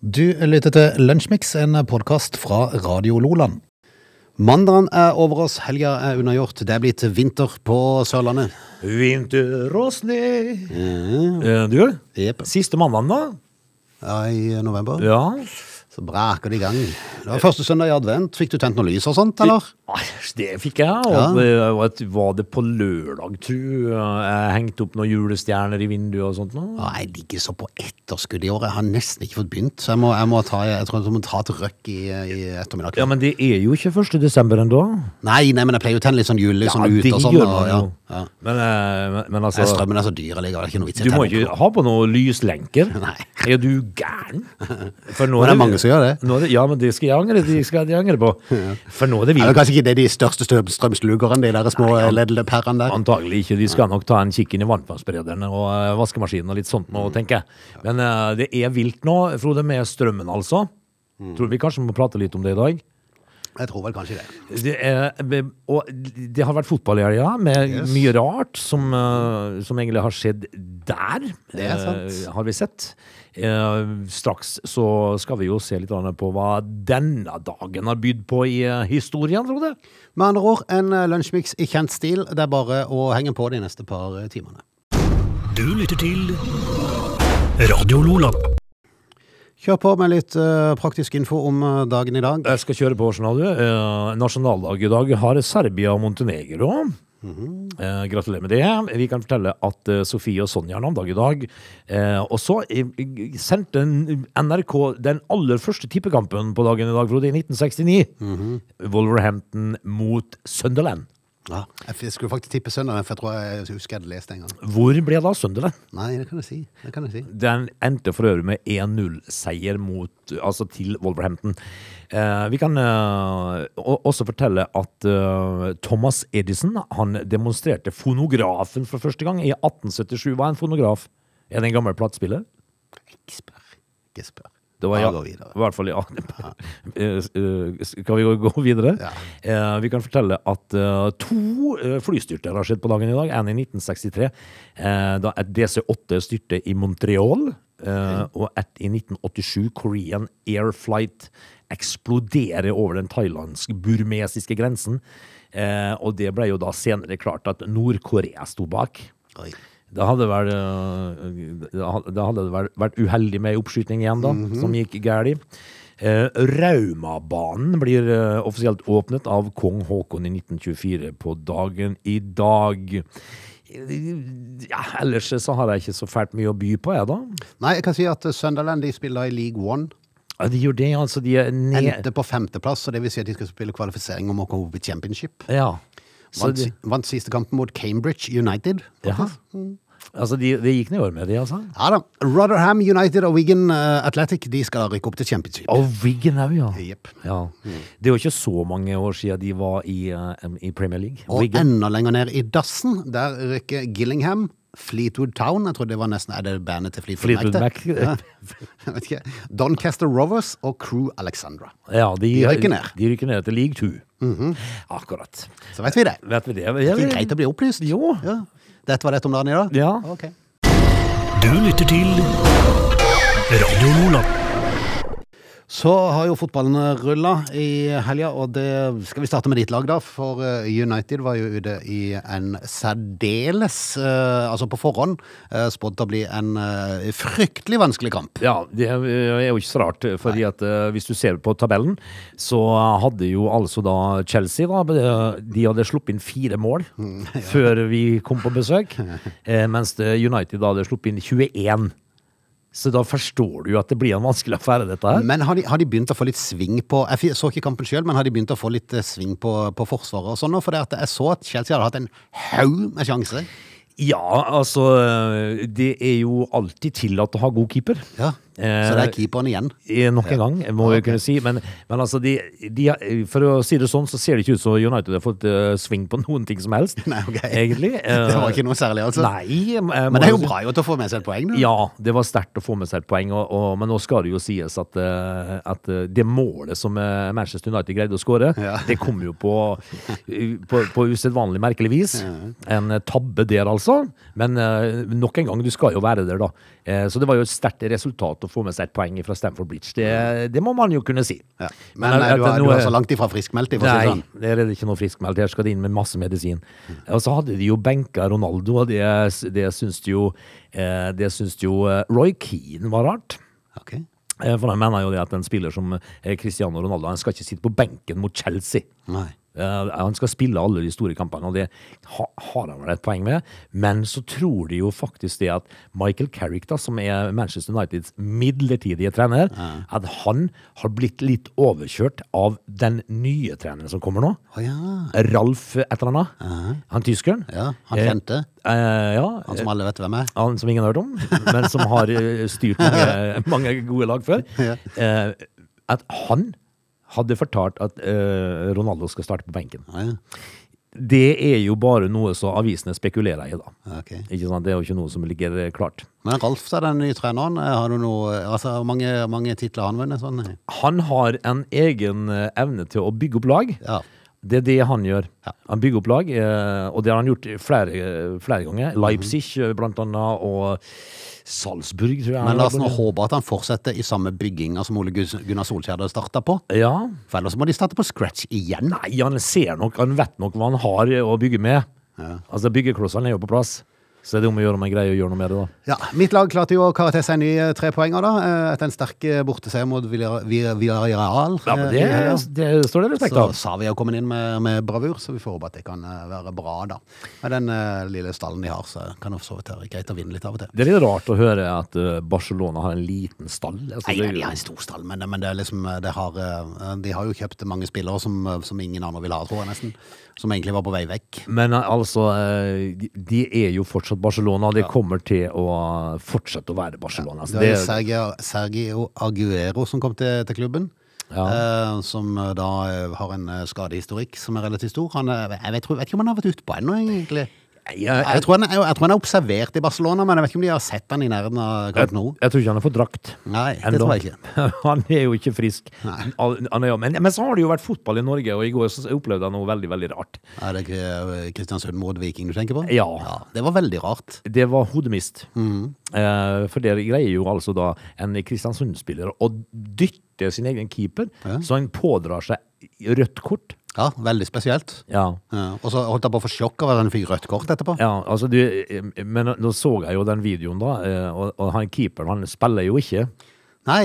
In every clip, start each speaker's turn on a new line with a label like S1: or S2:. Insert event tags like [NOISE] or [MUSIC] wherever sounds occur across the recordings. S1: Du lytter til Lunsjmix, en podkast fra Radio Loland.
S2: Mandagen er over oss, helga er unnagjort. Det er blitt vinter på Sørlandet.
S3: Vinter og snø
S2: Mm.
S3: Eh, Du,
S2: Jepp.
S3: siste mandagen da
S2: Ja, I november
S3: Ja
S2: så braker det i gang. Det var første søndag i advent. Fikk du tent noe lys og sånt, eller?
S3: Ai, Det fikk jeg og
S2: Ja.
S3: det var et- Var det på lørdag, tror jeg Jeg hengte opp noen julestjerner i vinduet og sånt nå.
S2: Nei, jeg ligger så på etterskudd i år. Jeg har nesten ikke fått begynt. Så jeg må, jeg må ta, jeg tror jeg må ta et røkk i, i ettermiddag.
S3: Ja, men det er jo ikke 1. desember enda
S2: Nei, nei, men jeg pleier jo å tenne litt sånn julelys sånn ut
S3: det
S2: og sånn.
S3: gjør
S2: og-
S3: man
S2: ja,
S3: jo
S2: ja.
S3: men, eh, men, men
S2: Nei,
S3: altså
S2: Strømmen er så dyr, jeg ligger det er ikke noe vits i
S3: Du må
S2: tenne
S3: ikke
S2: på.
S3: ha på noen [LAUGHS] lyslenker
S2: Nei.
S3: Er du [LAUGHS] gæren? For nå
S2: Men det er mange som gjør det.
S3: nå er det Ja, men det skal jeg angre, det skal jeg angre [LAUGHS] på For nå er det
S2: Ja,
S3: vinter
S2: det er kanskje ikke det de største stø- strømslugerne, de der små LED-pærene der.
S3: Antagelig ikke. De skal nok ta en kikk inn i varmtvannsberederen og eh, vaskemaskinen og litt sånt
S2: Mm.
S3: nå, tenker jeg. Men eh, det er vilt nå, Frode, med strømmen altså.
S2: Mm.
S3: Tror vi kanskje må prate litt om det i dag.
S2: Jeg tror vel kanskje det.
S3: Det, er, be- og det har vært fotball i helga, med mye rart som, eh, som egentlig har skjedd der.
S2: Det er sant.
S3: eh, Har vi sett. Eh, Straks så skal vi jo se litt grann på hva denne dagen har bydd på i eh, historien, Frode.
S2: Med andre ord, en eh, lunsjmix i kjent stil. Det er bare å henge på de neste par eh, timene.
S4: Du lytter til Radio Lola.
S2: Kjør på med litt eh, praktisk info om eh, dagen i dag.
S3: Jeg skal kjøre på, skjønner du. Eh, nasjonaldag i dag har Serbia og Montenegro. Eh, gratulerer med det. Vi kan fortelle at eh, Sofie og Sonja har navnedag i dag. Eh, og så eh, sendte en- NRK den aller første tippekampen på dagen i dag, Frode, i 1969. Wolverhampton mot Sunderland.
S2: Ja, jeg f- skulle faktisk tippe søndagen, for jeg tror jeg husker jeg hadde lest det en gang.
S3: Hvor ble da Sunderland?
S2: Nei, det kan jeg si. Det kan jeg si.
S3: Den endte for øvrig med 1-0-seier mot, altså til Wolverhampton. Eh, vi kan eh, o- også fortelle at eh, Thomas Edison han demonstrerte fonografen for første gang i 1877. Hva er en fonograf? Er det en gammel platespiller?
S2: Ikke spør. Ikke spør.
S3: Det var,
S2: Bare
S3: ja,
S2: gå
S3: i
S2: videre.
S3: hvert fall ja. [LAUGHS] Eh, s- eh, Skal vi gå- gå videre?
S2: Ja.
S3: Eh, Vi kan fortelle at eh, to eh, flystyrter har skjedd på dagen i dag. En i 1963, eh, da et DC-8 styrte i Montreal. eh, Og et i 1987, Korean Air Flight eksploderer over den thailandsk-burmesiske grensen. Eh, Og det ble jo da senere klart at Nord-Korea sto bak.
S2: Oi.
S3: Da hadde vel, øh, da had- da hadde det vel vært uheldig med oppskyting igjen, da, som gikk galt. Eh, Raumabanen blir eh, offisielt åpnet av kong Haakon i 1924 på dagen i dag. Ja, ellers så har jeg ikke så fælt mye å by på, jeg, da.
S2: Nei, jeg kan si at eh, Sunderland de spiller i League One.
S3: Ja, de gjør det, altså. De er ned...
S2: Endte på femteplass, så det vil si at de skal spille kvalifisering om å komme opp i championship.
S3: Ja. Så
S2: Vant,
S3: de,
S2: si- vant siste kampen mot Cambridge United.
S3: ja. Altså, de, det gikk nedover med de, altså.
S2: Ja da. Rotherham United og Wigan eh, Athletic de skal da rykke opp til championship.
S3: Og Wiggen òg, ja.
S2: Jepp.
S3: ja.
S2: Mm.
S3: Det er jo ikke så mange år siden de var i, eh, i Premier League.
S2: Og
S3: Wigan.
S2: enda lenger ned i dassen, der rykker Gillingham, Fleetwood Town Jeg trodde det var nesten Er det bandet til Fleetwood,
S3: Fleetwood Mac.
S2: det? Ja. [LAUGHS] Jeg vet ikke. Doncaster Rovers og Crew Alexandra.
S3: [LAUGHS] Ja, de,
S2: De rykker ned.
S3: De rykker ned til league 2. Akkurat.
S2: Så vet vi det.
S3: Vet vi det?
S2: Det er greit å bli opplyst.
S3: Jo.
S2: Ja. Dette var dette om dagen i dag?
S3: Ja.
S2: Ok.
S4: Du lytter til Radio Lola.
S2: Så har jo fotballen rulla i helga, og det skal vi starte med ditt lag, da. For eh, United var jo ute i en særdeles eh, Altså på forhånd eh, spådd å bli en eh, fryktelig vanskelig kamp.
S3: Ja, det er eh, er jo ikke så rart, fordi at eh, hvis du ser på tabellen, så hadde jo altså da Chelsea da, eh, De hadde sluppet inn fire mål
S2: Mm, [LAUGHS]
S3: før vi kom på besøk, eh, mens det United da hadde sluppet inn 21. Så da forstår du jo at det blir en vanskelig affære, dette her.
S2: Men har de, har de begynt å få litt sving på Jeg fi- så ikke kampen sjøl, men har de begynt å få litt eh, sving på, på forsvaret og sånn nå? For det at jeg så at Chelsea hadde hatt en haug med sjanser.
S3: Ja, altså eh, Det er jo alltid tillatt å ha god keeper.
S2: Ja. Så det er keeperen igjen. [LAUGHS]
S3: Eh, Nok en gang, må vi kunne si. Men, men altså, de, de, har- for å si det sånn, så ser det ikke ut som United har fått eh, sving på noen ting som helst.
S2: [LAUGHS] Nei, ok.
S3: Egentlig. eh,
S2: Det var ikke noe særlig, altså.
S3: Nei. eh, må
S2: Men det er
S3: jeg
S2: jo
S3: si.
S2: bra jo til å få med seg et poeng, da.
S3: Ja, det var sterkt å få med seg et poeng, og, og, men nå skal det jo sies at, eh, at eh, det målet som eh, Manchester United greide å skåre,
S2: Ja.
S3: det kom jo på, på, på usedvanlig merkelig vis. En eh, tabbe der, altså. Men eh, nok en gang, du skal jo være der, da. Eh, Så det var jo et sterkt resultat klart å få med seg et poeng fra Stamford Bridge. Det, det må man jo kunne si.
S2: Ja. Men, nei,
S3: at-
S2: du,
S3: at
S2: er,
S3: nå
S2: du er
S3: er-
S2: så langt ifra friskmeldt. for å si det
S3: Nei,
S2: sånn.
S3: der er det ikke noe friskmeldt. Her skal det inn med masse medisin. Og så hadde de jo benka Ronaldo, og det, det syns de jo, eh, det syns de jo eh, Roy Keane var rart.
S2: Ok.
S3: Eh, For han mener jo det at en spiller som eh, Cristiano Ronaldo Han skal ikke sitte på benken mot Chelsea.
S2: Nei.
S3: Eh, Han skal spille alle de store kampene, og det ha- har han vel et poeng med. Men så tror de jo faktisk det at Michael Carrick, da, som er Manchester Uniteds midlertidige trener, at han har blitt litt overkjørt av den nye treneren som kommer nå.
S2: Å ja.
S3: Ralf et eller annet. Han tyskeren.
S2: Ja, han
S3: Eh,
S2: kjente.
S3: Eh, ja,
S2: Han som alle vet hvem er.
S3: han som ingen har hørt om, men som har eh, styrt
S2: [LAUGHS]
S3: mange, mange gode lag før. Eh, at han hadde fortalt at eh, Ronaldo skal starte på benken.
S2: Å ja.
S3: Det er jo bare noe som avisene spekulerer i, da.
S2: Ok.
S3: Ikke sant? Det er jo ikke noe som ligger eh, klart.
S2: Men Ralf, da, den nye treneren, eh, har du noe Altså, hvor mange, hvor mange titler har han vunnet? Sånn?
S3: Han har en egen eh, evne til å bygge opp lag.
S2: Ja.
S3: Det er det han gjør.
S2: Ja.
S3: Han bygger opp lag, eh, og det har han gjort flere, flere
S2: Mhm.
S3: ganger. Leipzig, eh, blant annet, og Salzburg, tror jeg.
S2: Men la oss nå
S3: han-
S2: håpe at han fortsetter i samme bygginga som Ole Gus- Gunnar Solskjær starta på.
S3: Ja.
S2: For ellers må de starte på scratch igjen.
S3: Nei, han ser nok, han vet nok hva han har eh, å bygge med. Altså, byggeklossene er jo på plass. Så det er det om å gjøre om en greier å gjøre noe med det, da.
S2: Ja, Mitt lag klarte jo å karre til seg en ny eh, trepoenger, da. eh, Etter en sterk eh, borteseier mot Villar- Villar- Villarreal.
S3: Ja, men
S2: eh,
S3: det,
S2: i helga.
S3: det står det respekt
S2: Så
S3: av.
S2: sa vi å komme inn med, med bravur, så vi får håpe at det kan eh, være bra, da. Med den eh, lille stallen de har, så kan det for så vidt være greit å vinne litt av og til.
S3: Det er litt rart å høre at eh, Barcelona har en liten stall. Altså,
S2: Nei,
S3: det
S2: ja,
S3: er
S2: de
S3: jo-
S2: har en stor stall, men, men det er liksom, eh, det har, eh, de har jo kjøpt mange spillere som, eh, som ingen andre vil ha, tror jeg nesten. Som egentlig var på vei vekk.
S3: Men eh, altså, eh, de- de er jo fortsatt Barcelona. De kommer til å eh, fortsette å være Barcelona. Så
S2: Det er
S3: Altså, det,
S2: Sergio, Sergio Aguero som kom til, til klubben. eh, som eh, da eh, har en eh, skadehistorikk som er relativt stor. Han, eh, jeg, vet, jeg vet ikke om han har vært ute på ennå, egentlig.
S3: jeg,
S2: Jeg tror, han, er- jeg tror han er observert i Barcelona, men jeg vet ikke om de har sett han i nærheten av Camp Nou.
S3: Jeg tror ikke han har fått drakt.
S2: Nei, det
S3: Enda.
S2: tror jeg ikke.
S3: [LAUGHS] Han er jo ikke frisk. Al- Han er jo, men, men så har det jo vært fotball i Norge, og i går så opplevde jeg noe veldig, veldig rart.
S2: Er det ikke Kristiansund mot Viking du tenker på?
S3: Ja.
S2: Det var veldig rart.
S3: Det var hodemist.
S2: Mm.
S3: Eh, for der greier jo altså da en Kristiansund-spiller å dytte sin egen keeper, så han pådrar seg rødt kort.
S2: Ja, veldig spesielt.
S3: Ja.
S2: Ja. Og så holdt jeg på å få sjokk av at han fikk rødt kort etterpå.
S3: Ja, altså du, eh, men nå så jeg jo den videoen da, eh, og, og han keeperen, han spiller jo ikke.
S2: Nei.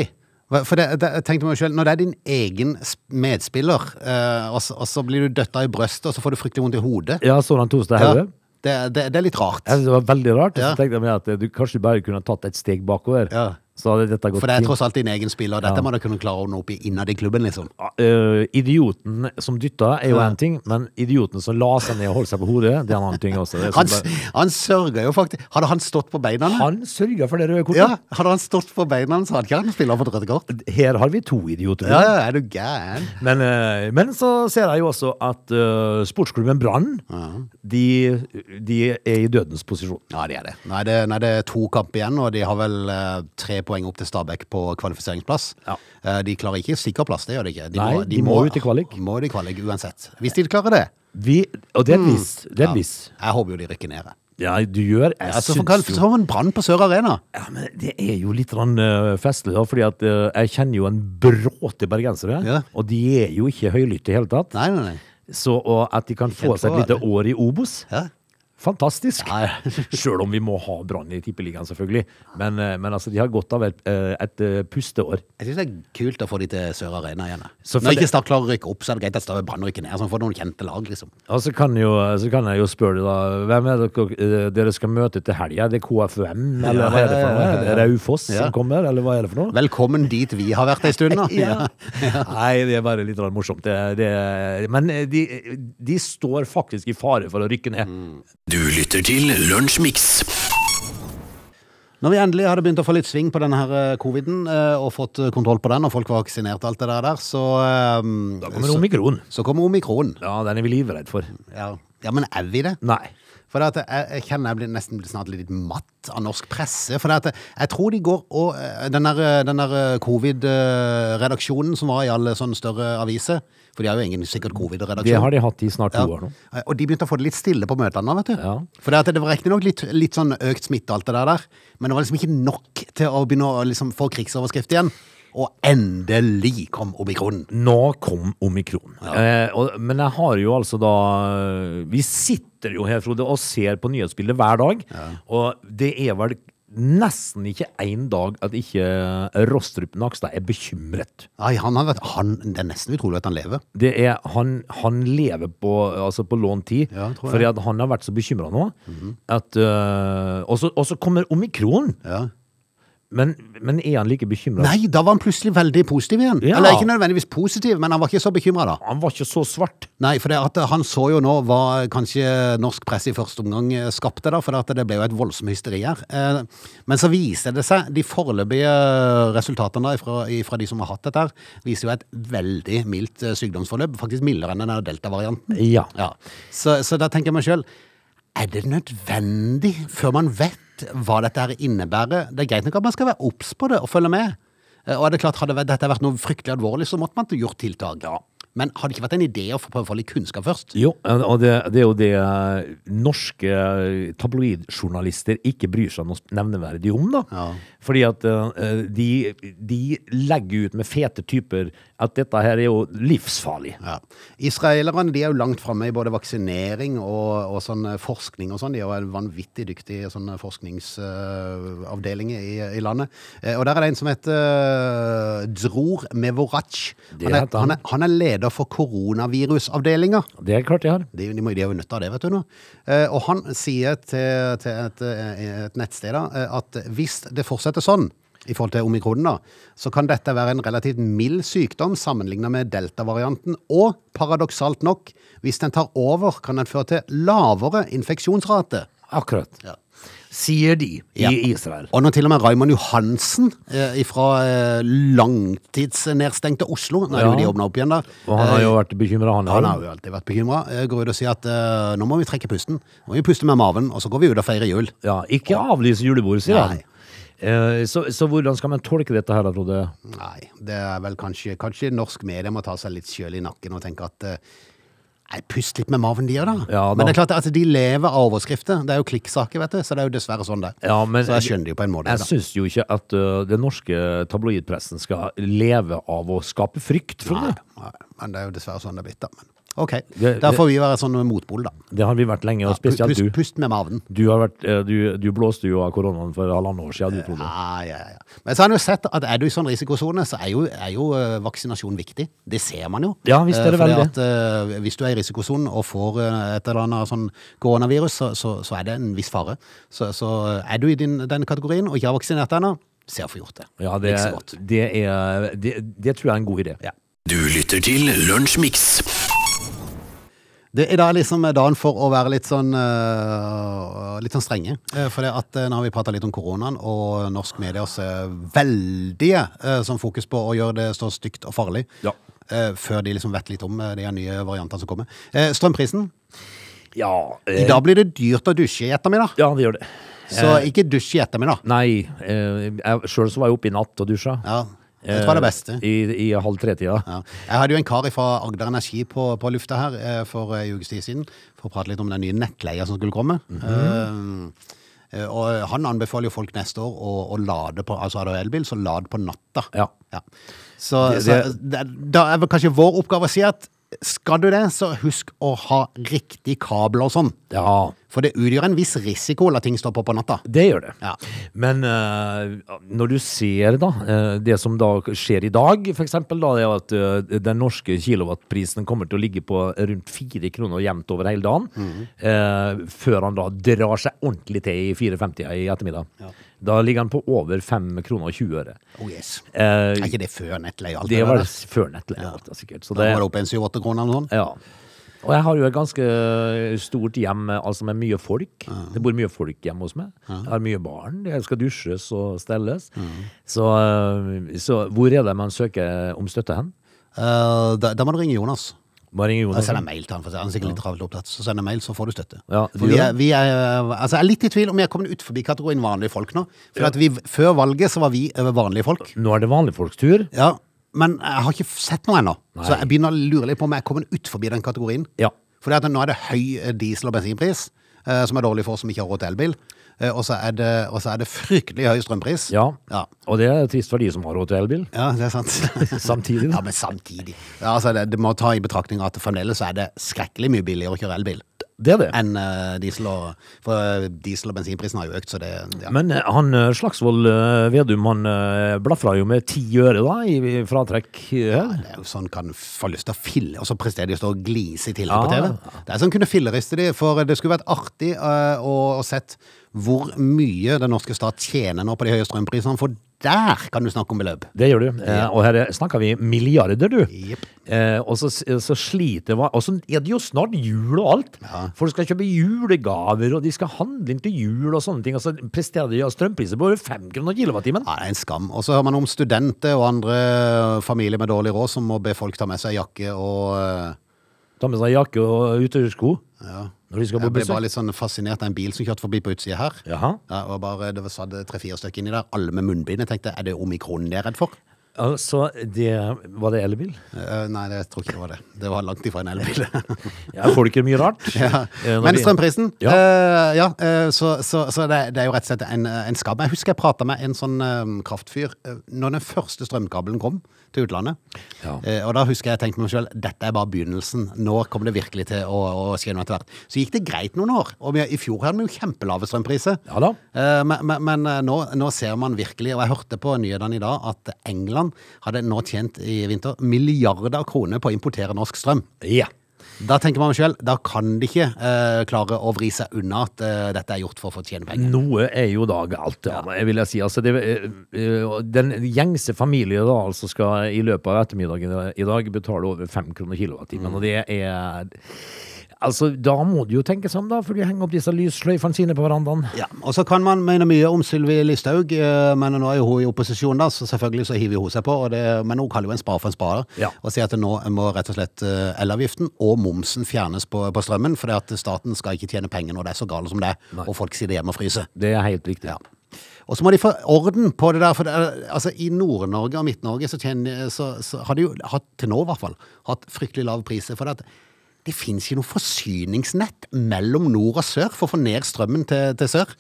S2: For det, det, jeg tenkte meg selv, Når det er din egen s- medspiller, eh, og, så, og så blir du døtta i brøstet, og så får du fryktelig vondt i hodet
S3: Ja, så han tos til
S2: Ja,
S3: hodet.
S2: det, det, det er litt rart.
S3: Jeg synes det var veldig rart, og
S2: Ja.
S3: så tenkte jeg meg at eh, du kanskje bare kunne tatt et steg bakover.
S2: Ja.
S3: Så hadde dette gått
S2: For det er
S3: fint.
S2: tross alt din egen spiller. Dette
S3: Ja.
S2: må du kunne klare å ordne opp i innad i klubben, liksom.
S3: Eh, idioten som dytta er jo
S2: Ja.
S3: én ting, men idioten som la seg ned og holdt seg på hodet, det er en annen ting også. Det er
S2: Han,
S3: sånn bare-
S2: s- han sørger jo faktisk Hadde han stått på beina?
S3: han sørga for det røde kortet.
S2: Ja, hadde han stått på beina, så hadde ikke han spilleren fått rødt kort.
S3: Her har vi to idioter.
S2: Ja, ja, er du gæren?
S3: Men, eh, men så ser jeg jo også at eh, sportsklubben Brann de, de er i dødens posisjon.
S2: Ja, det er det. Nei, det, nei, det er to kamp igjen, og de har vel eh, tre poeng opp til Stabæk på kvalifiseringsplass.
S3: Ja.
S2: Eh, de klarer ikke sikkerplass, det gjør de ikke.
S3: Nei, de må jo til kvalik.
S2: Må til kvalik, uansett. Hvis de klarer det.
S3: Vi, og
S2: Mm.
S3: det er hvis. Det er hvis.
S2: Jeg håper jo de rykker ned.
S3: Ja, du gjør Jeg
S2: Altså, for kan,
S3: syns jo
S2: som en brann på Sør Arena.
S3: ja, men Det er jo litt sånn, eh, festlig, da, fordi at eh, jeg kjenner jo en bråte bergensere.
S2: Ja.
S3: Og de er jo ikke høylytte i hele tatt.
S2: Nei, nei, nei.
S3: Så og at de kan få
S2: Helt
S3: seg
S2: på,
S3: et lite år i Obos,
S2: Ja.
S3: fantastisk.
S2: Nei.
S3: [LAUGHS] Sjøl om vi må ha Brann i Tippeligaen, selvfølgelig. Men, eh, men altså, de har godt av et, eh, et eh, pusteår.
S2: Jeg synes det er kult å få de til Sør Arena igjen.
S3: Så for
S2: Når
S3: det-
S2: ikke Start klarer å rykke opp, så er det greit at Stabæk Brann rykker ned. Sånn får noen kjente lag, liksom.
S3: Og så kan, jo, så kan jeg jo spørre deg, da. Hvem er dere, eh, dere skal møte til helga? Er det KFUM, eller
S2: Ja,
S3: hva er det for noe?
S2: ja, ja, ja.
S3: Er det Raufoss
S2: Ja.
S3: som kommer, eller hva er det for noe?
S2: Velkommen dit vi har vært ei stund, da.
S3: [LAUGHS] Ja. Nei, det er bare litt rart morsomt. Det, det, men eh, de, de står faktisk i fare for å rykke ned.
S4: Mm. Du lytter til Lunsjmix.
S2: Når vi endelig hadde begynt å få litt sving på denne her eh, coviden, eh, og fått eh, kontroll på den, og folk var vaksinert og alt det der, der så, eh,
S3: Da kommer omikron.
S2: så, så kommer omikron.
S3: Ja, den er vi livredd for.
S2: Ja. ja, men er vi det?
S3: Nei.
S2: For det at jeg, jeg kjenner jeg blir nesten blir snart litt matt av norsk presse. For det at jeg, jeg tror de går og eh, Den der, eh, den der eh, covid-redaksjonen som var i alle sånne større aviser For de har jo ingen sikkert
S3: Det
S2: covid-redaksjon.
S3: har de hatt i snart to
S2: Ja.
S3: år nå.
S2: Og de begynte å få det litt stille på møtene, vet du.
S3: Ja.
S2: For det, at det var riktignok litt, litt sånn økt smitte, og alt det der, der, men det var liksom ikke nok til å begynne å liksom få krigsoverskrift igjen. Og endelig kom omikronen.
S3: Nå kom omikron. Eh, og, men jeg har jo altså da Vi sitter jo her, Frode, og ser på nyhetsbildet hver dag. Og det er vel nesten ikke én dag at ikke Rostrup Nakstad er bekymret.
S2: Nei, han har vært, han, det er nesten utrolig at han lever.
S3: Det er, han, han lever på, altså på lånt tid,
S2: Ja, tror jeg. Mhm.
S3: fordi at han har vært så bekymra nå. at, eh, og, så, og så kommer omikron!
S2: Ja.
S3: Men, men er han like bekymra?
S2: Nei, da var han plutselig veldig positiv igjen.
S3: Ja.
S2: Eller ikke nødvendigvis positiv, men han var ikke så bekymra da.
S3: Han var ikke så svart.
S2: Nei, for det at han så jo nå hva kanskje norsk presse i første omgang eh, skapte, da, for det at det ble jo et voldsomt hysteri her. Eh, Men så viser det seg, de foreløpige resultatene da, fra, fra de som har hatt dette, her, viser jo et veldig mildt eh, sykdomsforløp, faktisk mildere enn den her delta-varianten.
S3: Ja.
S2: Ja. Så, så da tenker jeg meg sjøl, er det nødvendig før man vet hva dette her innebærer? Det er greit nok at man skal være obs på det og følge med. Eh, Og er det klart, hadde vært- dette vært noe fryktelig alvorlig, så måtte man gjort tiltak. Men hadde det ikke vært en idé å få prøve å få litt kunnskap først?
S3: Jo, og det, det er jo det eh, norske eh, tabloidjournalister ikke bryr seg noe nevneverdig om, da.
S2: Ja.
S3: Fordi at eh, de, de legger ut med fete typer at dette her er jo livsfarlig.
S2: Ja. Israelerne de er jo langt framme i både vaksinering og, og sånn eh, forskning og sånn. De er jo en vanvittig dyktig sånn forskningsavdeling i, i landet. Eh, Og der er det en som heter eh, Dror Mevorac.
S3: Det
S2: Han er,
S3: heter han.
S2: han, er, han er leder for koronavirusavdelinga.
S3: Det er klart de har.
S2: De, de, må, de er jo nødt av det, vet du nå. Eh, og han sier til, til et, eh, et nettsted da, eh, at hvis det fortsetter sånn, i forhold til omikronen, da, så kan dette være en relativt mild sykdom sammenlignet med delta-varianten. Og paradoksalt nok, hvis den tar over, kan den føre til lavere infeksjonsrate.
S3: Akkurat.
S2: Ja.
S3: Sier de
S2: Ja.
S3: i Israel.
S2: Og når til og med Raymond Johansen eh, fra eh, langtidsnedstengte Oslo Nå er det
S3: Ja.
S2: jo de åpna opp igjen, da.
S3: Og han har jo vært bekymra, Eh, han.
S2: Ja, Han har jo alltid vært bekymra. Går ut og sier at eh, nå må vi trekke pusten. Nå må vi puste med maven, og så går vi ut og feirer jul.
S3: Ja, ikke avlyse julebord, sier
S2: Nei.
S3: han. Eh, Så, så hvordan skal man tolke dette her, da, Frode?
S2: Nei, det er vel kanskje Kanskje norsk media må ta seg litt sjøl i nakken og tenke at eh, Nei, pust litt med maven, de òg, da.
S3: Ja, da.
S2: Men det er klart at de lever av overskrifter. Det er jo klikksaker, vet du. Så det er jo dessverre sånn, det.
S3: Ja, men-
S2: så jeg skjønner det jo på en måte.
S3: Jeg
S2: Da.
S3: syns jo ikke at ø, den norske tabloidpressen skal leve av å skape frykt, Frode.
S2: Nei, men det er jo dessverre sånn det er blitt, da. Men OK.
S3: det-
S2: Der får vi være sånn motpol, da.
S3: Det har vi vært lenge, og
S2: Pust,
S3: spesielt
S2: pust,
S3: du.
S2: pust med maven.
S3: Du, har vært, ø, du. du blåste jo av koronaen for halvannet år siden, du, Frode.
S2: Ja, ja, ja. Men så har han jo sett at er du i sånn risikosone, så er jo, er jo eh, vaksinasjon viktig. Det ser man jo.
S3: Ja, visst er
S2: Eh,
S3: det
S2: fordi
S3: vel det.
S2: At, eh, hvis du er i risikosonen og får eh, et eller annet sånn koronavirus, så, så, så er det en viss fare. Så, så er du i din, den kategorien og ikke har vaksinert deg ennå, se å få gjort det.
S3: Ja, det,
S2: Ikke så godt.
S3: det, er, det, det tror jeg er en god idé.
S2: Ja.
S4: Du lytter til Lunsjmix.
S2: Det er da liksom dagen for å være litt sånn, eh, litt sånn strenge. Eh, For det at eh, nå har vi prata litt om koronaen og norsk medias eh, veldige eh, sånn fokus på å gjøre det så stygt og farlig.
S3: Ja.
S2: Eh, Før de liksom vet litt om eh, de her nye variantene som kommer. Eh, Strømprisen.
S3: Ja, ø,
S2: I dag blir det dyrt å dusje i ettermiddag.
S3: Eh. ja, det gjør det.
S2: Så ikke dusj i ettermiddag.
S3: Nei, uh, sjøl så var jeg oppe i natt og dusja.
S2: Ja, det var det beste.
S3: I, i halv tre-tida.
S2: Ja. Jeg hadde jo en kar fra Agder Energi på, på lufta her eh, for eh, en ukes tid siden for å prate litt om den nye nettleia som skulle komme.
S3: Mhm.
S2: Eh, eh, og han anbefaler jo folk neste år å, å lade på altså har du elbil, så lad på natta.
S3: Ja.
S2: Så,
S3: Det-
S2: så det- da er vel kanskje vår oppgave å si at skal du det, så husk å ha riktig kabel og sånn.
S3: ja.
S2: For det utgjør en viss risiko å la ting stå på på natta.
S3: Det gjør det.
S2: Ja.
S3: Men eh, når du ser da, eh, det som da skjer i dag, for eksempel, da, er jo at eh, den norske kilowattprisen kommer til å ligge på rundt fire kroner jevnt over hele dagen, eh, før han da drar seg ordentlig til i 4,50 i ettermiddag. Da ligger han på over 5 kroner og 20 øre.
S2: Oh yes.
S3: Eh,
S2: Er ikke det før nettleie? og alt
S3: det
S2: der?
S3: var før nettleie, alt det sikkert. Så
S2: Da var det
S3: det,
S2: opp en 7-8 kroner eller noe sånt.
S3: ja. Og jeg har jo et ganske eh, stort hjem, altså med mye folk. Det bor mye folk hjemme hos meg. Jeg har mye barn. De skal dusjes og stelles. Så, eh, øh, så hvor er det man søker om støtte hen?
S2: Eh, da, da må du ringe Jonas.
S3: Bare ring
S2: Jeg
S3: Jonas.
S2: sender mail til han, for å si. han er sikkert litt travelt opptatt. Så sender jeg mail, så får du støtte.
S3: Mhm. Ja, du
S2: for vi
S3: gjør
S2: er, vi er, altså jeg er litt i tvil om jeg er kommet ut forbi kategorien vanlige folk nå. For at vi, før valget så var vi eh, vanlige folk.
S3: Nå er det vanlige folks tur.
S2: Ja, men jeg har ikke sett noe ennå. Så jeg begynner å lure litt på om jeg er kommet ut forbi den kategorien.
S3: Ja.
S2: Fordi at nå er det høy eh, diesel- og bensinpris, eh, som er dårlig for oss som ikke har råd til elbil. Eh, og, så er det, og så er det fryktelig høy strømpris.
S3: ja.
S2: Ja.
S3: Og det er trist for de som har råd til elbil.
S2: Ja, det er sant. [LAUGHS]
S3: Samtidig,
S2: Ja,
S3: da.
S2: men samtidig. Ja, altså, det, det må ta i betraktning at fremdeles så er det skrekkelig mye billigere å kjøre elbil
S3: Det er det.
S2: enn eh, diesel og For eh, diesel- og bensinprisen har jo økt, så det ja.
S3: Men eh, han eh, Slagsvold eh, Vedum han eh, blafra jo med ti øre da, i i fratrekk eh, her.
S2: det er jo sånn kan få lyst til å fille, og så presterer de å stå og glise i tillegg
S3: Ja,
S2: på TV.
S3: ja,
S2: Det er sånn kunne filleriste de, for det skulle vært artig eh, å, å sett hvor mye den norske stat tjener nå på de høye strømprisene, for der kan du snakke om beløp.
S3: Det gjør du. Eh, og her snakker vi milliarder, du.
S2: Jepp.
S3: Eh, og så, så sliter man Og så er det jo snart jul og alt. Folk skal kjøpe julegaver, og de skal handle inn til jul og sånne ting. Og så presterer de av strømpriser på over fem kroner kilowattimen.
S2: Ja, det er en skam. Og så hører man om studenter og andre eh, familier med dårlig råd som må be folk ta med seg jakke og eh,
S3: Ta med seg jakke og utøversko
S2: ja.
S3: når de skal på
S2: Jeg ble bare
S3: besøk.
S2: litt sånn fascinert av en bil som kjørte forbi på utsida her.
S3: Jaha.
S2: Ja, og bare, det var satt tre-fire stykker inni der, alle med munnbind. Jeg tenkte, er det omikronen de er redd for?
S3: Altså, det Var det elbil?
S2: Eh, nei, det tror ikke det var det. Det var langt ifra en elbil.
S3: [LAUGHS] Ja, får du ikke mye rart?
S2: [LAUGHS]
S3: Eh, når
S2: Men
S3: de-
S2: strømprisen,
S3: Ja.
S2: eh, ja, eh, så, så, så det, det er jo rett og slett en, en skam. Jeg husker jeg prata med en sånn eh, kraftfyr eh, når den første strømkabelen kom til utlandet.
S3: Ja.
S2: Eh, og da husker jeg jeg tenkte meg selv, dette er bare begynnelsen. Nå kommer det virkelig til å, å skje noe etter hvert. Så gikk det greit noen år. Og vi, i fjor hadde vi jo kjempelave strømpriser.
S3: Ja da.
S2: Eh, Men, men, men eh, nå, nå ser man virkelig, og jeg hørte på nyhetene i dag, at England hadde nå tjent i vinter milliarder av kroner på å importere norsk strøm.
S3: Ja.
S2: Da tenker man selv, da kan de ikke eh, klare å vri seg unna at eh, dette er gjort for å få tjene penger.
S3: Noe er jo da galt, ja. jeg vil jeg si. Altså, det, eh, eh, den gjengse familie da, altså skal i løpet av ettermiddagen i dag betale over fem kroner kilowattimen,
S2: Mm.
S3: og det er Altså, da må du jo tenke seg om, da, for de henger opp disse lyssløyfene sine på verandaen.
S2: Ja, og så kan man mene mye om Sylvi Listhaug, eh, men nå er jo hun i opposisjon, da, så selvfølgelig så hiver hun seg på. Og det, men hun kaller jo en spar for en sparer,
S3: Ja.
S2: og sier at nå må rett og slett eh, elavgiften og momsen fjernes på, på strømmen, for at staten skal ikke tjene penger når det er så galt som det er, og folk sitter hjemme og fryser.
S3: Det er helt riktig.
S2: Ja. Og så må de få orden på det der, for det er, altså, i Nord-Norge og Midt-Norge så, tjener- så, så har de jo hatt, til nå i hvert fall, hatt fryktelig lav priser. For det, at det finnes ikke noe forsyningsnett mellom nord og sør for å få ned strømmen til, til sør.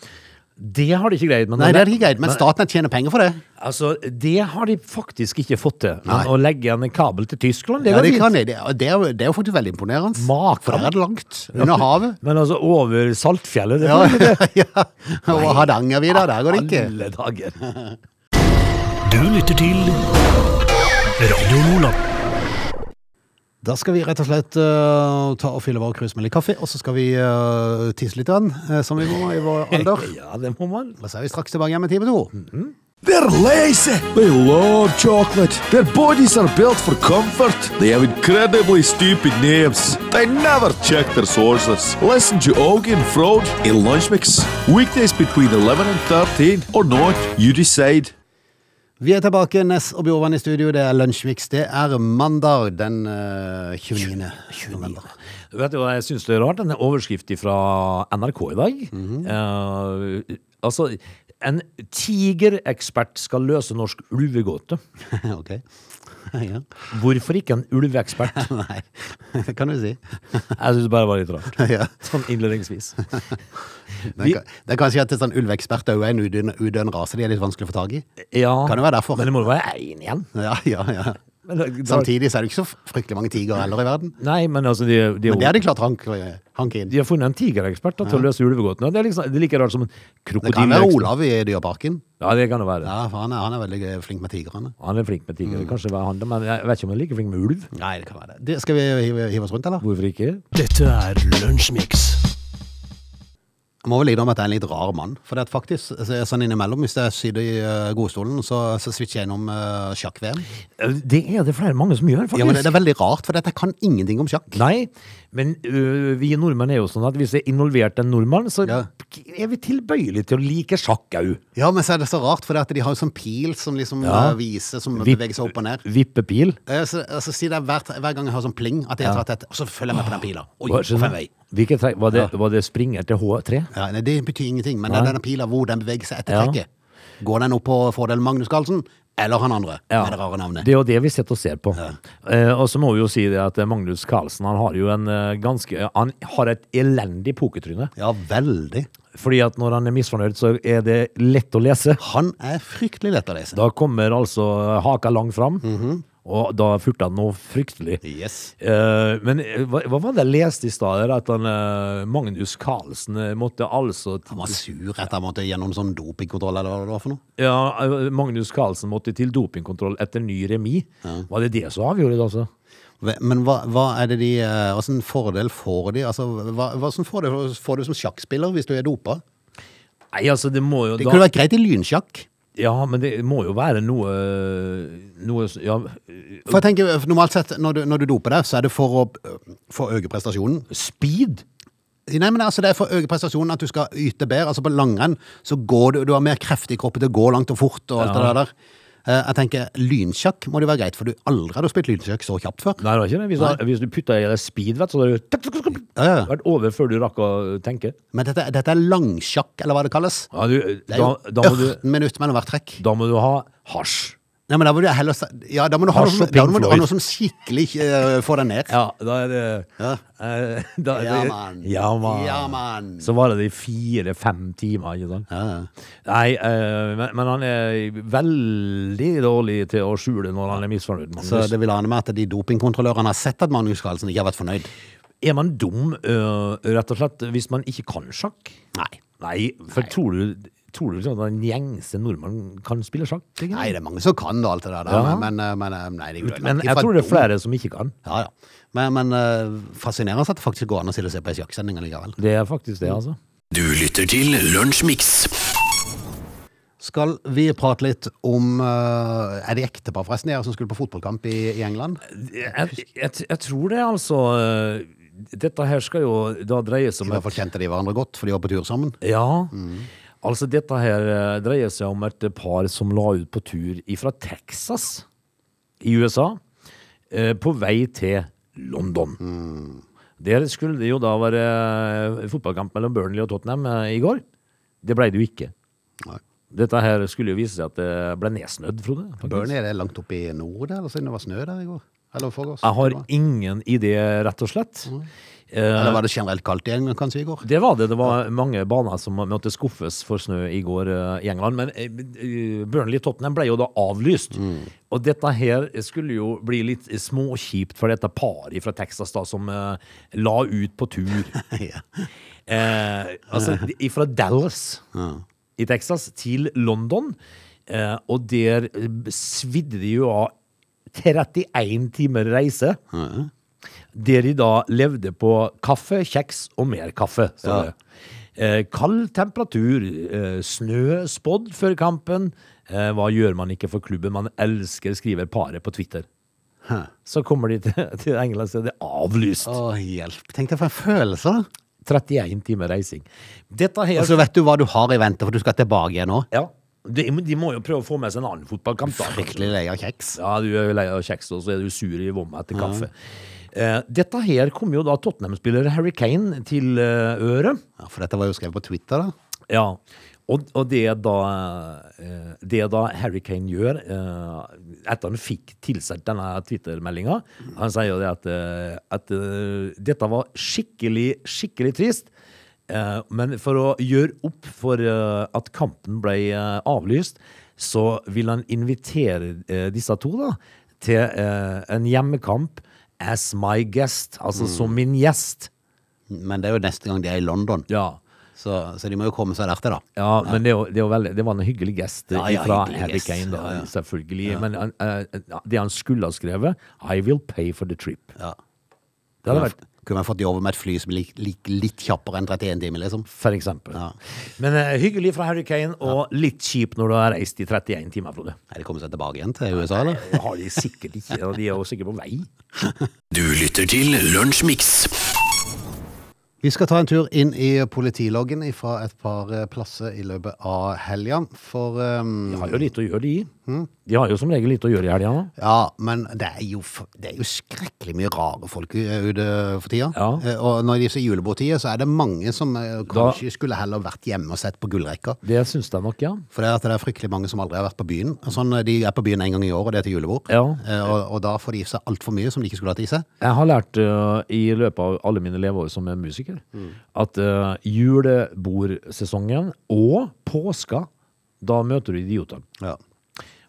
S3: Det har de ikke greid. Men
S2: Nei, det er ikke greit, men Statnett tjener penger for det.
S3: Altså, det har de faktisk ikke fått til. Men
S2: Nei.
S3: å legge en kabel til Tyskland, det
S2: Ja,
S3: går
S2: det,
S3: fint.
S2: kan de. det, og det, er, jo- det er jo faktisk veldig imponerende.
S3: Makan.
S2: For der er det langt. Under [LAUGHS] havet.
S3: Men altså, over Saltfjellet, det
S2: Ja,
S3: får de
S2: [LAUGHS]
S3: ikke.
S2: ja. Og Hardangervidda, der går det ikke.
S3: Alle dager.
S4: Du lytter til Radio Lola.
S2: Da skal vi rett og slett eh, ta og fylle vår krus med litt kaffe, og så skal vi eh, tisse litt, grann, eh, som vi må i vår alder.
S3: Ja, det må man.
S2: Og så er vi straks tilbake igjen med time to.
S5: They're lazy. They love chocolate. Their bodies are built for comfort. They have incredibly stupid names. They never check their sources. Listen to Augie and Frode in Lunch Mix. Weekdays between 11 and 13 or not, you decide.
S2: Vi er tilbake, Ness og Bjorvann i studio. Det er Lunsjmix. Det er mandag den eh, 29. november.
S3: Vet du hva jeg syns det er rart? Denne overskriften fra NRK i dag.
S2: Mhm.
S3: Eh, altså En tigerekspert skal løse norsk ulvegåte.
S2: [LAUGHS] ok. ja.
S3: Hvorfor ikke en ulveekspert?
S2: [LAUGHS] Nei, det kan du si. [LAUGHS]
S3: Jeg syns det bare var litt rart.
S2: ja.
S3: Sånn innledningsvis.
S2: Det er, det er kanskje at det er sånn ulveekspert òg er en udønn udønn rase de er litt vanskelig å få tak i.
S3: Ja,
S2: Kan det være derfor?
S3: Men det må jo være én igjen.
S2: Ja, ja, ja.
S3: Men det-
S2: Samtidig så er det ikke så fryktelig mange tigre heller i verden.
S3: Nei, men altså, de, de,
S2: Men det er det klart hank, hank inn.
S3: de har funnet en tigerekspert da, til å løse ulvegåten. og Det er, liksom, det er like rart som en
S2: Det kan være
S3: krokodilleekspert.
S2: Olav i Dyreparken.
S3: Ja, det kan det være.
S2: Ja, Mm. for han er, han er veldig eh, flink med tigrene.
S3: Han er flink med tiger. Kanskje det var han, da, men jeg vet ikke om han er like flink med ulv.
S2: Nei, det kan være det. Du, skal vi hive, hive oss rundt, eller?
S3: Hvorfor ikke?
S4: Dette er Lunsjmix.
S2: Jeg må vel innrømme at jeg er en litt rar mann. For det at faktisk, så- sånn innimellom, hvis jeg sitter i eh, godstolen, så, så switcher jeg innom eh, sjakk-VM.
S3: Det er det flere mange som gjør, faktisk.
S2: Ja, men det, det er veldig rart, for det at jeg kan ingenting om sjakk.
S3: Nei, men ø, vi nordmenn er jo sånn at hvis det er involvert en nordmann, så
S2: Ja.
S3: er vi tilbøyelige til å like sjakk au.
S2: Ja, men så er det så rart, for det at de har jo sånn pil som liksom
S3: Ja.
S2: eh, viser, som
S3: Vipp-
S2: beveger seg opp og ned.
S3: Vippepil.
S2: Eh, Så, altså, si det hver, hver gang jeg har sånn pling, at jeg har tatt et, og så følger jeg med på den pila. Oi,
S3: Hva-
S2: på
S3: skjønner
S2: fem
S3: du?
S2: vei.
S3: Hvilket trekk? Var det, var det springer til H3?
S2: Ja, nei, det betyr ingenting, men
S3: Nei.
S2: det er denne pila hvor den beveger seg etter
S3: Ja.
S2: trekket. Går den opp på fordel Magnus Carlsen, eller han andre, med det rare navnet?
S3: Det er jo det vi sitter og ser på. Eh, og så må vi jo si det at eh, Magnus Carlsen han har jo en eh, ganske Han har et elendig pokertryne.
S2: Ja, veldig.
S3: Fordi at når han er misfornøyd, så er det lett å lese.
S2: Han er fryktelig lett å lese.
S3: Da kommer altså haka langt fram,
S2: Mhm.
S3: og da furter han noe fryktelig.
S2: Yes.
S3: Eh, men eh, hva, hva var det jeg leste i stad? her, At han, eh, Magnus Carlsen eh, måtte altså
S2: Han var sur etter han måtte gjennom sånn dopingkontroll, eller hva det var for noe.
S3: Ja, eh, Magnus Carlsen måtte til dopingkontroll etter ny remis. Var det det som avgjorde det, altså?
S2: Ve- Men hva, hva er det de eh, Hva slags fordel får de? Altså, hva, hva slags fordel får du som sjakkspiller hvis du er dopa?
S3: Nei, altså, det må jo
S2: Det
S3: da-
S2: kunne vært greit i lynsjakk.
S3: Ja, men det må jo være noe Noe s- Ja, eh,
S2: For jeg tenker, for Normalt sett, når du, når du doper deg, så er det for å øh, for å øke prestasjonen.
S3: speed!
S2: Nei, men altså, Det er for å øke prestasjonen at du skal yte bedre. Altså På langrenn så går du Du har mer kraft i kroppen til å gå langt og fort. og alt det der Eh, Jeg tenker, Lynsjakk må det være greit, for du aldri har du spilt lynsjakk så kjapt før.
S3: Nei, det var ikke det. Hvis, du- hvis du putta i deg speed, vet du, så hadde det
S2: Ja, ja, ja.
S3: vært over før du rakk å tenke.
S2: Men dette, dette er langsjakk, eller hva det kalles.
S3: Ja, du,
S2: Det er jo
S3: da, da, må
S2: 18
S3: du,
S2: minutter mellom hvert trekk.
S3: da må du ha hasj.
S2: Nei, men Da må du heller sa- Ja, da må du ha
S3: Har
S2: noe,
S3: så
S2: som-
S3: Pink
S2: da må du ha
S3: Floyd.
S2: noe som skikkelig eh, får deg ned.
S3: Ja, da er det
S2: Ja.
S3: eh, da er
S2: Ja,
S3: det-
S2: mann.
S3: Ja, mann.
S2: Ja, mann.
S3: Så varer det i fire-fem timer, ikke sant?
S2: Ja, ja.
S3: Nei, eh, men, men han er veldig dårlig til å skjule når han er misfornøyd. Magnus.
S2: Så det vil ane meg at de dopingkontrollørene har sett at Magnus Carlsen ikke har vært fornøyd.
S3: Er man dum, eh, rett og slett, hvis man ikke kan sjakk?
S2: Nei.
S3: Nei, for tror du Tror du sånn at en gjengse nordmann kan spille sjakk? tenker
S2: Nei,
S3: jeg?
S2: det er mange som kan det, alt det der,
S3: Ja.
S2: men, eh, men, men nei, det er jo
S3: Men
S2: langt
S3: jeg
S2: ifra
S3: tror det er
S2: dum.
S3: flere som ikke kan.
S2: Ja, ja. Men, men eh, fascinerende at det faktisk går an å sitte og se på ei sjakksending likevel.
S3: Det er faktisk det, altså.
S4: Du lytter til Lunsjmix.
S2: Skal vi prate litt om eh, Er det ektepar, forresten, dere som skulle på fotballkamp i, i England?
S3: Jeg, jeg, jeg tror det, altså. eh, Dette her skal jo da dreie
S2: I
S3: seg om
S2: hvert fall kjente de hverandre godt, for de var på tur sammen.
S3: Ja.
S2: Mm.
S3: Altså, dette her eh, dreier seg om et par som la ut på tur fra Texas i USA eh, på vei til London.
S2: Mm.
S3: Der skulle det jo da være eh, fotballkamp mellom Burnley og Tottenham eh, i går. Det ble det jo ikke.
S2: Nei.
S3: Dette her skulle jo vise seg at det ble nedsnødd, Frode. faktisk.
S2: Burnley, er det langt oppe i nord der, eller siden det var snø der i går? Eller foregårs?
S3: Jeg har
S2: Det var-
S3: ingen idé, rett og slett.
S2: Mm.
S3: Eh,
S2: Eller var det generelt kaldt i England, kanskje, i går?
S3: Det var det. Det var mange baner som måtte skuffes for snø i går eh, i England. Men eh, Burnley Tottenham ble jo da avlyst. Og dette her skulle jo bli litt småkjipt for dette paret fra Texas da, som eh, la ut på tur.
S2: ja.
S3: Eh, altså, fra Dallas i Texas til London, eh, og der eh, svidde de jo av 31 timer reise. Der de da levde på kaffe, kjeks og mer kaffe. står det. Eh, kald temperatur, eh, snø spådd før kampen. Eh, hva gjør man ikke for klubben man elsker, skriver paret på Twitter.
S2: Hæ.
S3: Så kommer de til, [LAUGHS] til England, så er det avlyst.
S2: Å, hjelp. Tenk deg for en følelse, da.
S3: 31 timer reising. Dette her
S2: Og så vet du hva du har i vente, for du skal tilbake igjen nå.
S3: Ja. De, de må jo prøve å få med seg en annen fotballkamp. da.
S2: Fryktelig lei av kjeks.
S3: Ja, du er jo lei av kjeks, og så er du sur i vomma etter kaffe. Eh, dette her kom jo da Tottenham-spiller Harry Kane til eh, øret.
S2: Ja, for dette var jo skrevet på Twitter, da.
S3: Ja. Og, og det, da, eh, det da Harry Kane gjør, eh, etter han fikk tilsendt denne Twitter-meldinga Han sier jo det at, eh, at eh, dette var skikkelig, skikkelig trist. Eh, men for å gjøre opp for eh, at kampen ble eh, avlyst, så vil han invitere eh, disse to da, til eh, en hjemmekamp as my guest, altså som min gjest.
S2: Men det er jo neste gang de er i London,
S3: Ja.
S2: så, så de må jo komme seg der til, da.
S3: Ja, men det, er jo- det, er jo veldig, det var en hyggelig gest
S2: Ja, ja,
S3: fra
S2: hyggelig
S3: Harry
S2: gest.
S3: Kane, da,
S2: Ja, ja.
S3: selvfølgelig. Men eh, han, eh, det han skulle ha skrevet, I will pay for the trip.
S2: Ja.
S3: Det hadde vært
S2: Kunne man fått de over med et fly som lik, lik, litt kjappere enn 31 timer, liksom?
S3: For eksempel.
S2: Ja.
S3: Men eh, hyggelig fra Harry Kane, og litt kjip når du har reist i 31 timer, Frode.
S2: Er de kommet seg tilbake igjen til USA, eller?
S3: Det har de sikkert ikke, og de er jo sikkert på vei.
S4: Du lytter til Lunsjmix.
S2: Vi skal ta en tur inn i politiloggen fra et par eh, plasser i løpet av helga. For
S3: De
S2: ehm,
S3: har jo lite å gjøre, de. De har jo som regel lite å gjøre i helga. da.
S2: Ja, men det er jo, f- det er jo skrekkelig mye rare folk u- ute for tida.
S3: Ja.
S2: Eh, Og når de sier julebordsida, så er det mange som eh,
S3: Da-
S2: kanskje skulle heller vært hjemme og sett på gullrekka.
S3: Det syns jeg nok, ja.
S2: For det er, at det er fryktelig mange som aldri har vært på byen. Og Sånn, eh, de er på byen en gang i år, og det er til julebord.
S3: Ja.
S2: Eh, Og, og da får de i seg altfor mye som de ikke skulle hatt i seg.
S3: Jeg har lært eh, i løpet av alle mine leveår som er musiker, at eh, julebordsesongen og påska, da møter du idioter.
S2: Ja.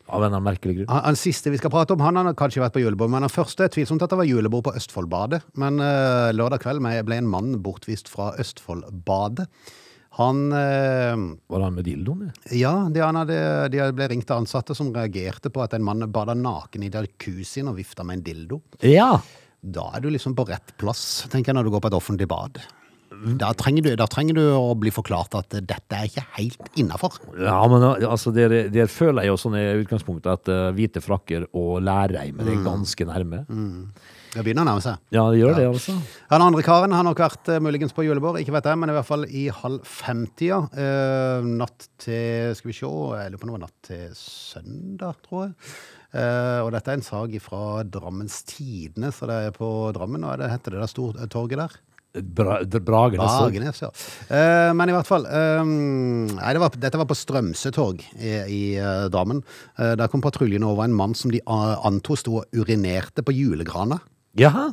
S3: Av en eller annen merkelig grunn.
S2: Han, han siste vi skal prate om, han, han har kanskje vært på julebord, men han første er tvilsomt at det var julebord på Østfoldbadet. Men eh, lørdag kveld med- ble en mann bortvist fra Østfoldbadet. Han eh,
S3: Var det han med dildoen? det?
S2: Ja, de, han hadde, de ble ringt av ansatte som reagerte på at en mann bada naken i jacuzien og vifta med en dildo.
S3: Ja!
S2: Da er du liksom på rett plass, tenker jeg, når du går på et offentlig bad. Da trenger du, da trenger du å bli forklart at dette er ikke helt innafor.
S3: Ja, men eh, altså, der, der føler jeg jo sånn i utgangspunktet at eh, hvite frakker og lærreimer er ganske nærme.
S2: Det begynner å nærme seg.
S3: Mm. Ja, det gjør det, altså.
S2: Den andre karen har nok vært eh, muligens på julebord, ikke vet jeg, men i hvert fall i halv femtida. Eh, natt til Skal vi se, jeg lurer på om det var natt til søndag, tror jeg. Eh, og dette er en sak fra Drammens Tidende, så det er på Drammen. Hva er det, heter det der stor- eh, torget der?
S3: Bra, Bragernes. torg.
S2: Bragenes, ja. Eh, men i hvert fall eh, Nei, det var, dette var på Strømsøtorg i, i eh, Drammen. Eh, der kom patruljen over en mann som de eh, antok sto og urinerte på julegrana.
S3: Jaha!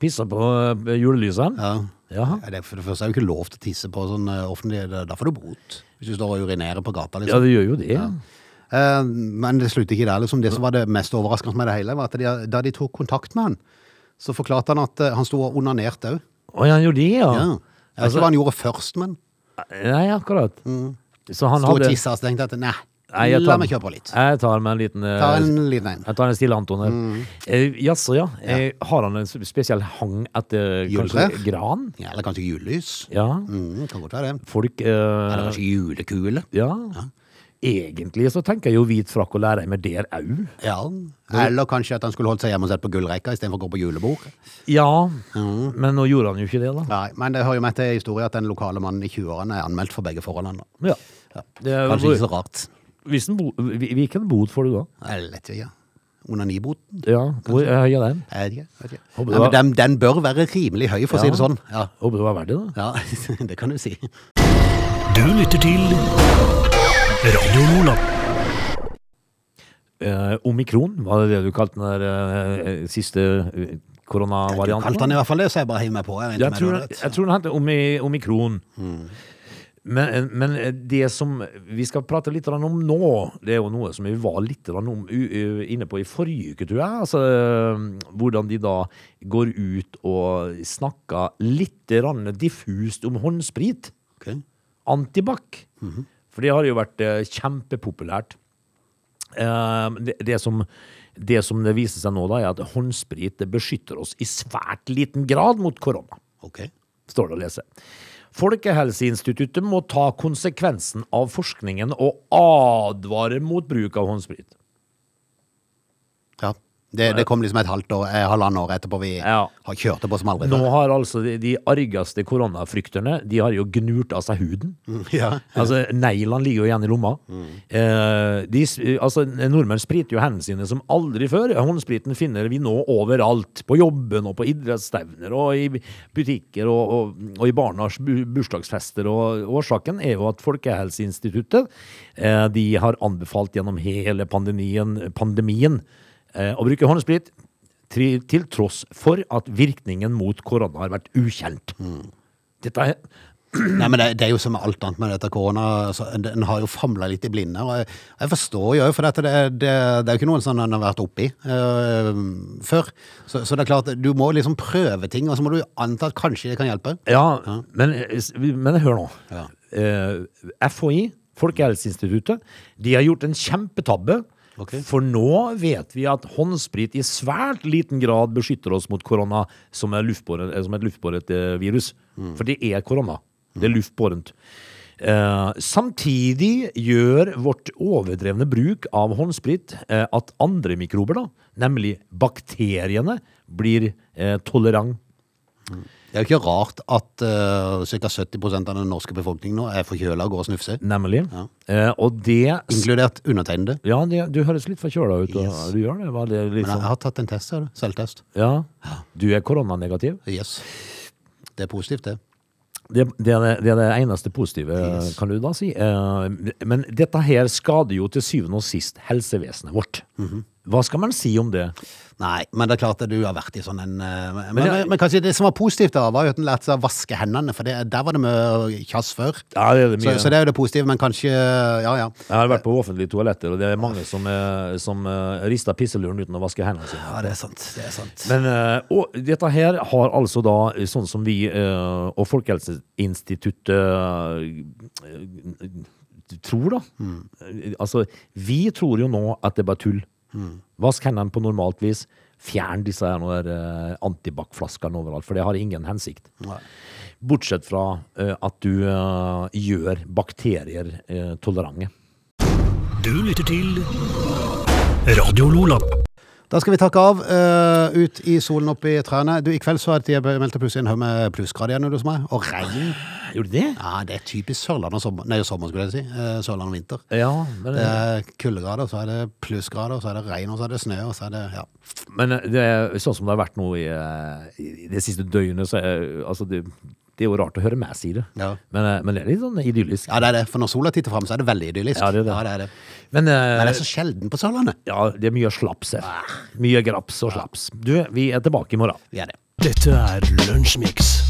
S3: Pissa på eh, julelysene?
S2: Ja.
S3: Jaha.
S2: Ja, det, for det første er det jo ikke lov til å tisse på sånn eh, offentlig Da da får du bot. Hvis du står og urinerer på gata,
S3: Ja,
S2: liksom.
S3: det gjør jo det.
S2: Eh, men det slutter ikke der, liksom. Det som var det mest overraskende med det hele, var at de, da de tok kontakt med han, så forklarte han at eh, han sto og onanerte òg.
S3: Å, ja, han gjorde det, ja. Altså-
S2: Ja. Jeg vet ikke hva han gjorde først, men
S3: Nei, akkurat. Så han
S2: sto og
S3: hadde
S2: tissa og så tenkte jeg at nei,
S3: Nei, jeg
S2: Mm. la
S3: tar-
S2: meg kjøre på litt.
S3: Jeg tar meg en liten eh,
S2: Ta en Mm. liten en.
S3: Jeg tar en stille Anton her. Eh, Jaså, ja. Eh, har han en spesiell hang etter eh, kanskje
S2: Juletre?
S3: gran?
S2: Ja, eller kanskje julelys.
S3: Ja.
S2: Mm, kan godt være det.
S3: Folk eh,
S2: Eller kanskje julekule.
S3: ja. Egentlig så tenker jeg jo hvit frakk og lærer med der au.
S2: Ja. Eller kanskje at han skulle holdt seg hjemme og sett på gullrekka istedenfor å gå på julebord.
S3: Ja, men nå gjorde han jo ikke det, da.
S2: Nei, men det hører jo med til historien at den lokale mannen i 20-årene er anmeldt for begge forholdene. da.
S3: Ja. Det, er-
S2: Kanskje ikke så rart.
S3: hvis en bo, hvi- hvilken bot får du da?
S2: Jeg vet ikke. ja. Onaniboten?
S3: Ja, hvor høy er den?
S2: Jeg vet ikke. jeg Vet ikke.
S3: Håper
S2: Nei,
S3: det
S2: men den, den bør være rimelig høy, for å si det
S3: Ja.
S2: sånn. Ja.
S3: Håper det var verdt det, da.
S2: ja, [LAUGHS] det kan du si.
S4: Du lytter til Radio Nordland.
S3: Eh, omikron, var det det du kalte den der eh, eh, siste eh, koronavarianten?
S2: Kalte han i hvert fall det, så jeg bare hiver meg på. Jeg vet
S3: Jeg
S2: ikke om
S3: tror,
S2: jeg vet.
S3: jeg tror den heter omi, omikron. Men, eh, men det som vi skal prate litt grann om nå, det er jo noe som vi var litt grann om, u- u- inne på i forrige uke, tror jeg. Altså, eh, hvordan de da går ut og snakker litt grann diffust om håndsprit.
S2: Ok.
S3: Antibac. For det har jo vært eh, kjempepopulært. Eh, det, det, som, det som det viser seg nå, da, er at håndsprit det beskytter oss i svært liten grad mot korona
S2: Ok.
S3: står det å lese. Folkehelseinstituttet må ta konsekvensen av forskningen og advare mot bruk av håndsprit.
S2: Ja. Det, det kom liksom et halvt år, eh, halvannet år etterpå vi
S3: Ja.
S2: har kjørt det på som aldri
S3: Nå
S2: før.
S3: har altså de, de argeste koronafrykterne De har jo gnurt av seg huden.
S2: [LAUGHS] Ja.
S3: Altså, Neglene ligger jo igjen i lomma. Eh, de, s- altså, Nordmenn spriter jo hendene sine som aldri før. Håndspriten finner vi nå overalt. På jobben og på idrettsstevner og i butikker og, og, og i barnas bu- bursdagsfester. Og Årsaken er jo at Folkehelseinstituttet eh, de har anbefalt gjennom hele pandemien, pandemien eh, å bruke håndsprit. Til, til tross for at virkningen mot korona har vært ukjent. Dette er
S2: Nei, men det, det er jo som med alt annet med dette korona. Altså, en- en har jo famla litt i blinde. Og jeg, jeg forstår jo, for dette, det, det, det er jo ikke noen sånn en har vært oppi øh, før. Så, så det er klart, du må liksom prøve ting, og så må du anta at kanskje det kan hjelpe.
S3: Ja, Men, men hør nå.
S2: Ja.
S3: Eh, FHI, Folkehelseinstituttet, de har gjort en kjempetabbe
S2: Ok.
S3: For nå vet vi at håndsprit i svært liten grad beskytter oss mot korona, som, er luftbåren, eh, som et luftbåret eh, virus.
S2: Mm.
S3: For det er korona. Det er luftbårent. Eh, samtidig gjør vårt overdrevne bruk av håndsprit eh, at andre mikrober, da, nemlig bakteriene, blir eh, tolerant.
S2: Det er jo ikke rart at uh, ca. 70 av den norske befolkningen nå er forkjøla og går og snufser.
S3: Nemlig. Eh, og det
S2: Inkludert undertegnede.
S3: Ja, det, du høres litt forkjøla ut. og-
S2: Yes.
S3: Du gjør det. Var det litt
S2: Men jeg
S3: sånn?
S2: har tatt en test, ser du. Selvtest.
S3: Ja. Du er koronanegativ?
S2: Yes. Det er positivt, det.
S3: Det, det, er det, det er det eneste positive,
S2: Yes.
S3: kan du da si. Eh, Men dette her skader jo til syvende og sist helsevesenet vårt. Hva skal man si om det?
S2: Nei, men det er klart at du har vært i sånn en eh, Men, men,
S3: Men
S2: men,
S3: jeg-
S2: kanskje det som var positivt, da, var jo at en lærte seg å vaske hendene, for det, der var det mye kjass før.
S3: Ja, det er det
S2: Så,
S3: mye.
S2: så det er jo det positive, men kanskje Ja, ja.
S3: Jeg har vært på offentlige toaletter, og det er mange som, eh, som eh, rister pisseluren uten å vaske hendene sine.
S2: Ja, det er sant. Det er sant.
S3: Men eh, og dette her har altså da, eh, sånn som vi eh, og Folkehelseinstituttet eh, eh, tror, da. Eh, Altså, vi tror jo nå at det er bare tull. Vask hendene på normalt vis. Fjern disse her noe der, eh, antibac-flaskene overalt, for det har ingen hensikt.
S2: Nei.
S3: Bortsett fra eh, at du eh, gjør bakterier eh, tolerante.
S4: Du lytter til Radio Lola.
S2: Da skal vi takke av. eh, ut i solen, opp i trærne. Du, I kveld så er det jeg meldte plutselig en haug med plussgrader igjen hos meg, og regn.
S3: Gjorde du det?
S2: Ja, det er typisk Sørlandet og sommer. Nei, sommer skulle jeg si. Eh, Sørlandet og vinter.
S3: Ja, men,
S2: Det er kuldegrader, så er det plussgrader, så er det regn, og så er det snø, og så er det Ja.
S3: Men eh, det er sånn som det har vært nå i, eh, i det siste døgnet, så er altså det, det er jo rart å høre meg si det.
S2: Ja.
S3: Men, eh, men det er litt sånn idyllisk.
S2: ja det er det. For når sola titter fram, så er det veldig idyllisk.
S3: Ja, det er det.
S2: det, er det.
S3: Men,
S2: Men det
S3: eh,
S2: er så sjelden på Sørlandet.
S3: ja, det er mye slaps her. Mye graps og slaps. Du, vi er tilbake i morgen.
S2: Vi er det.
S4: Dette er Lunsjmix.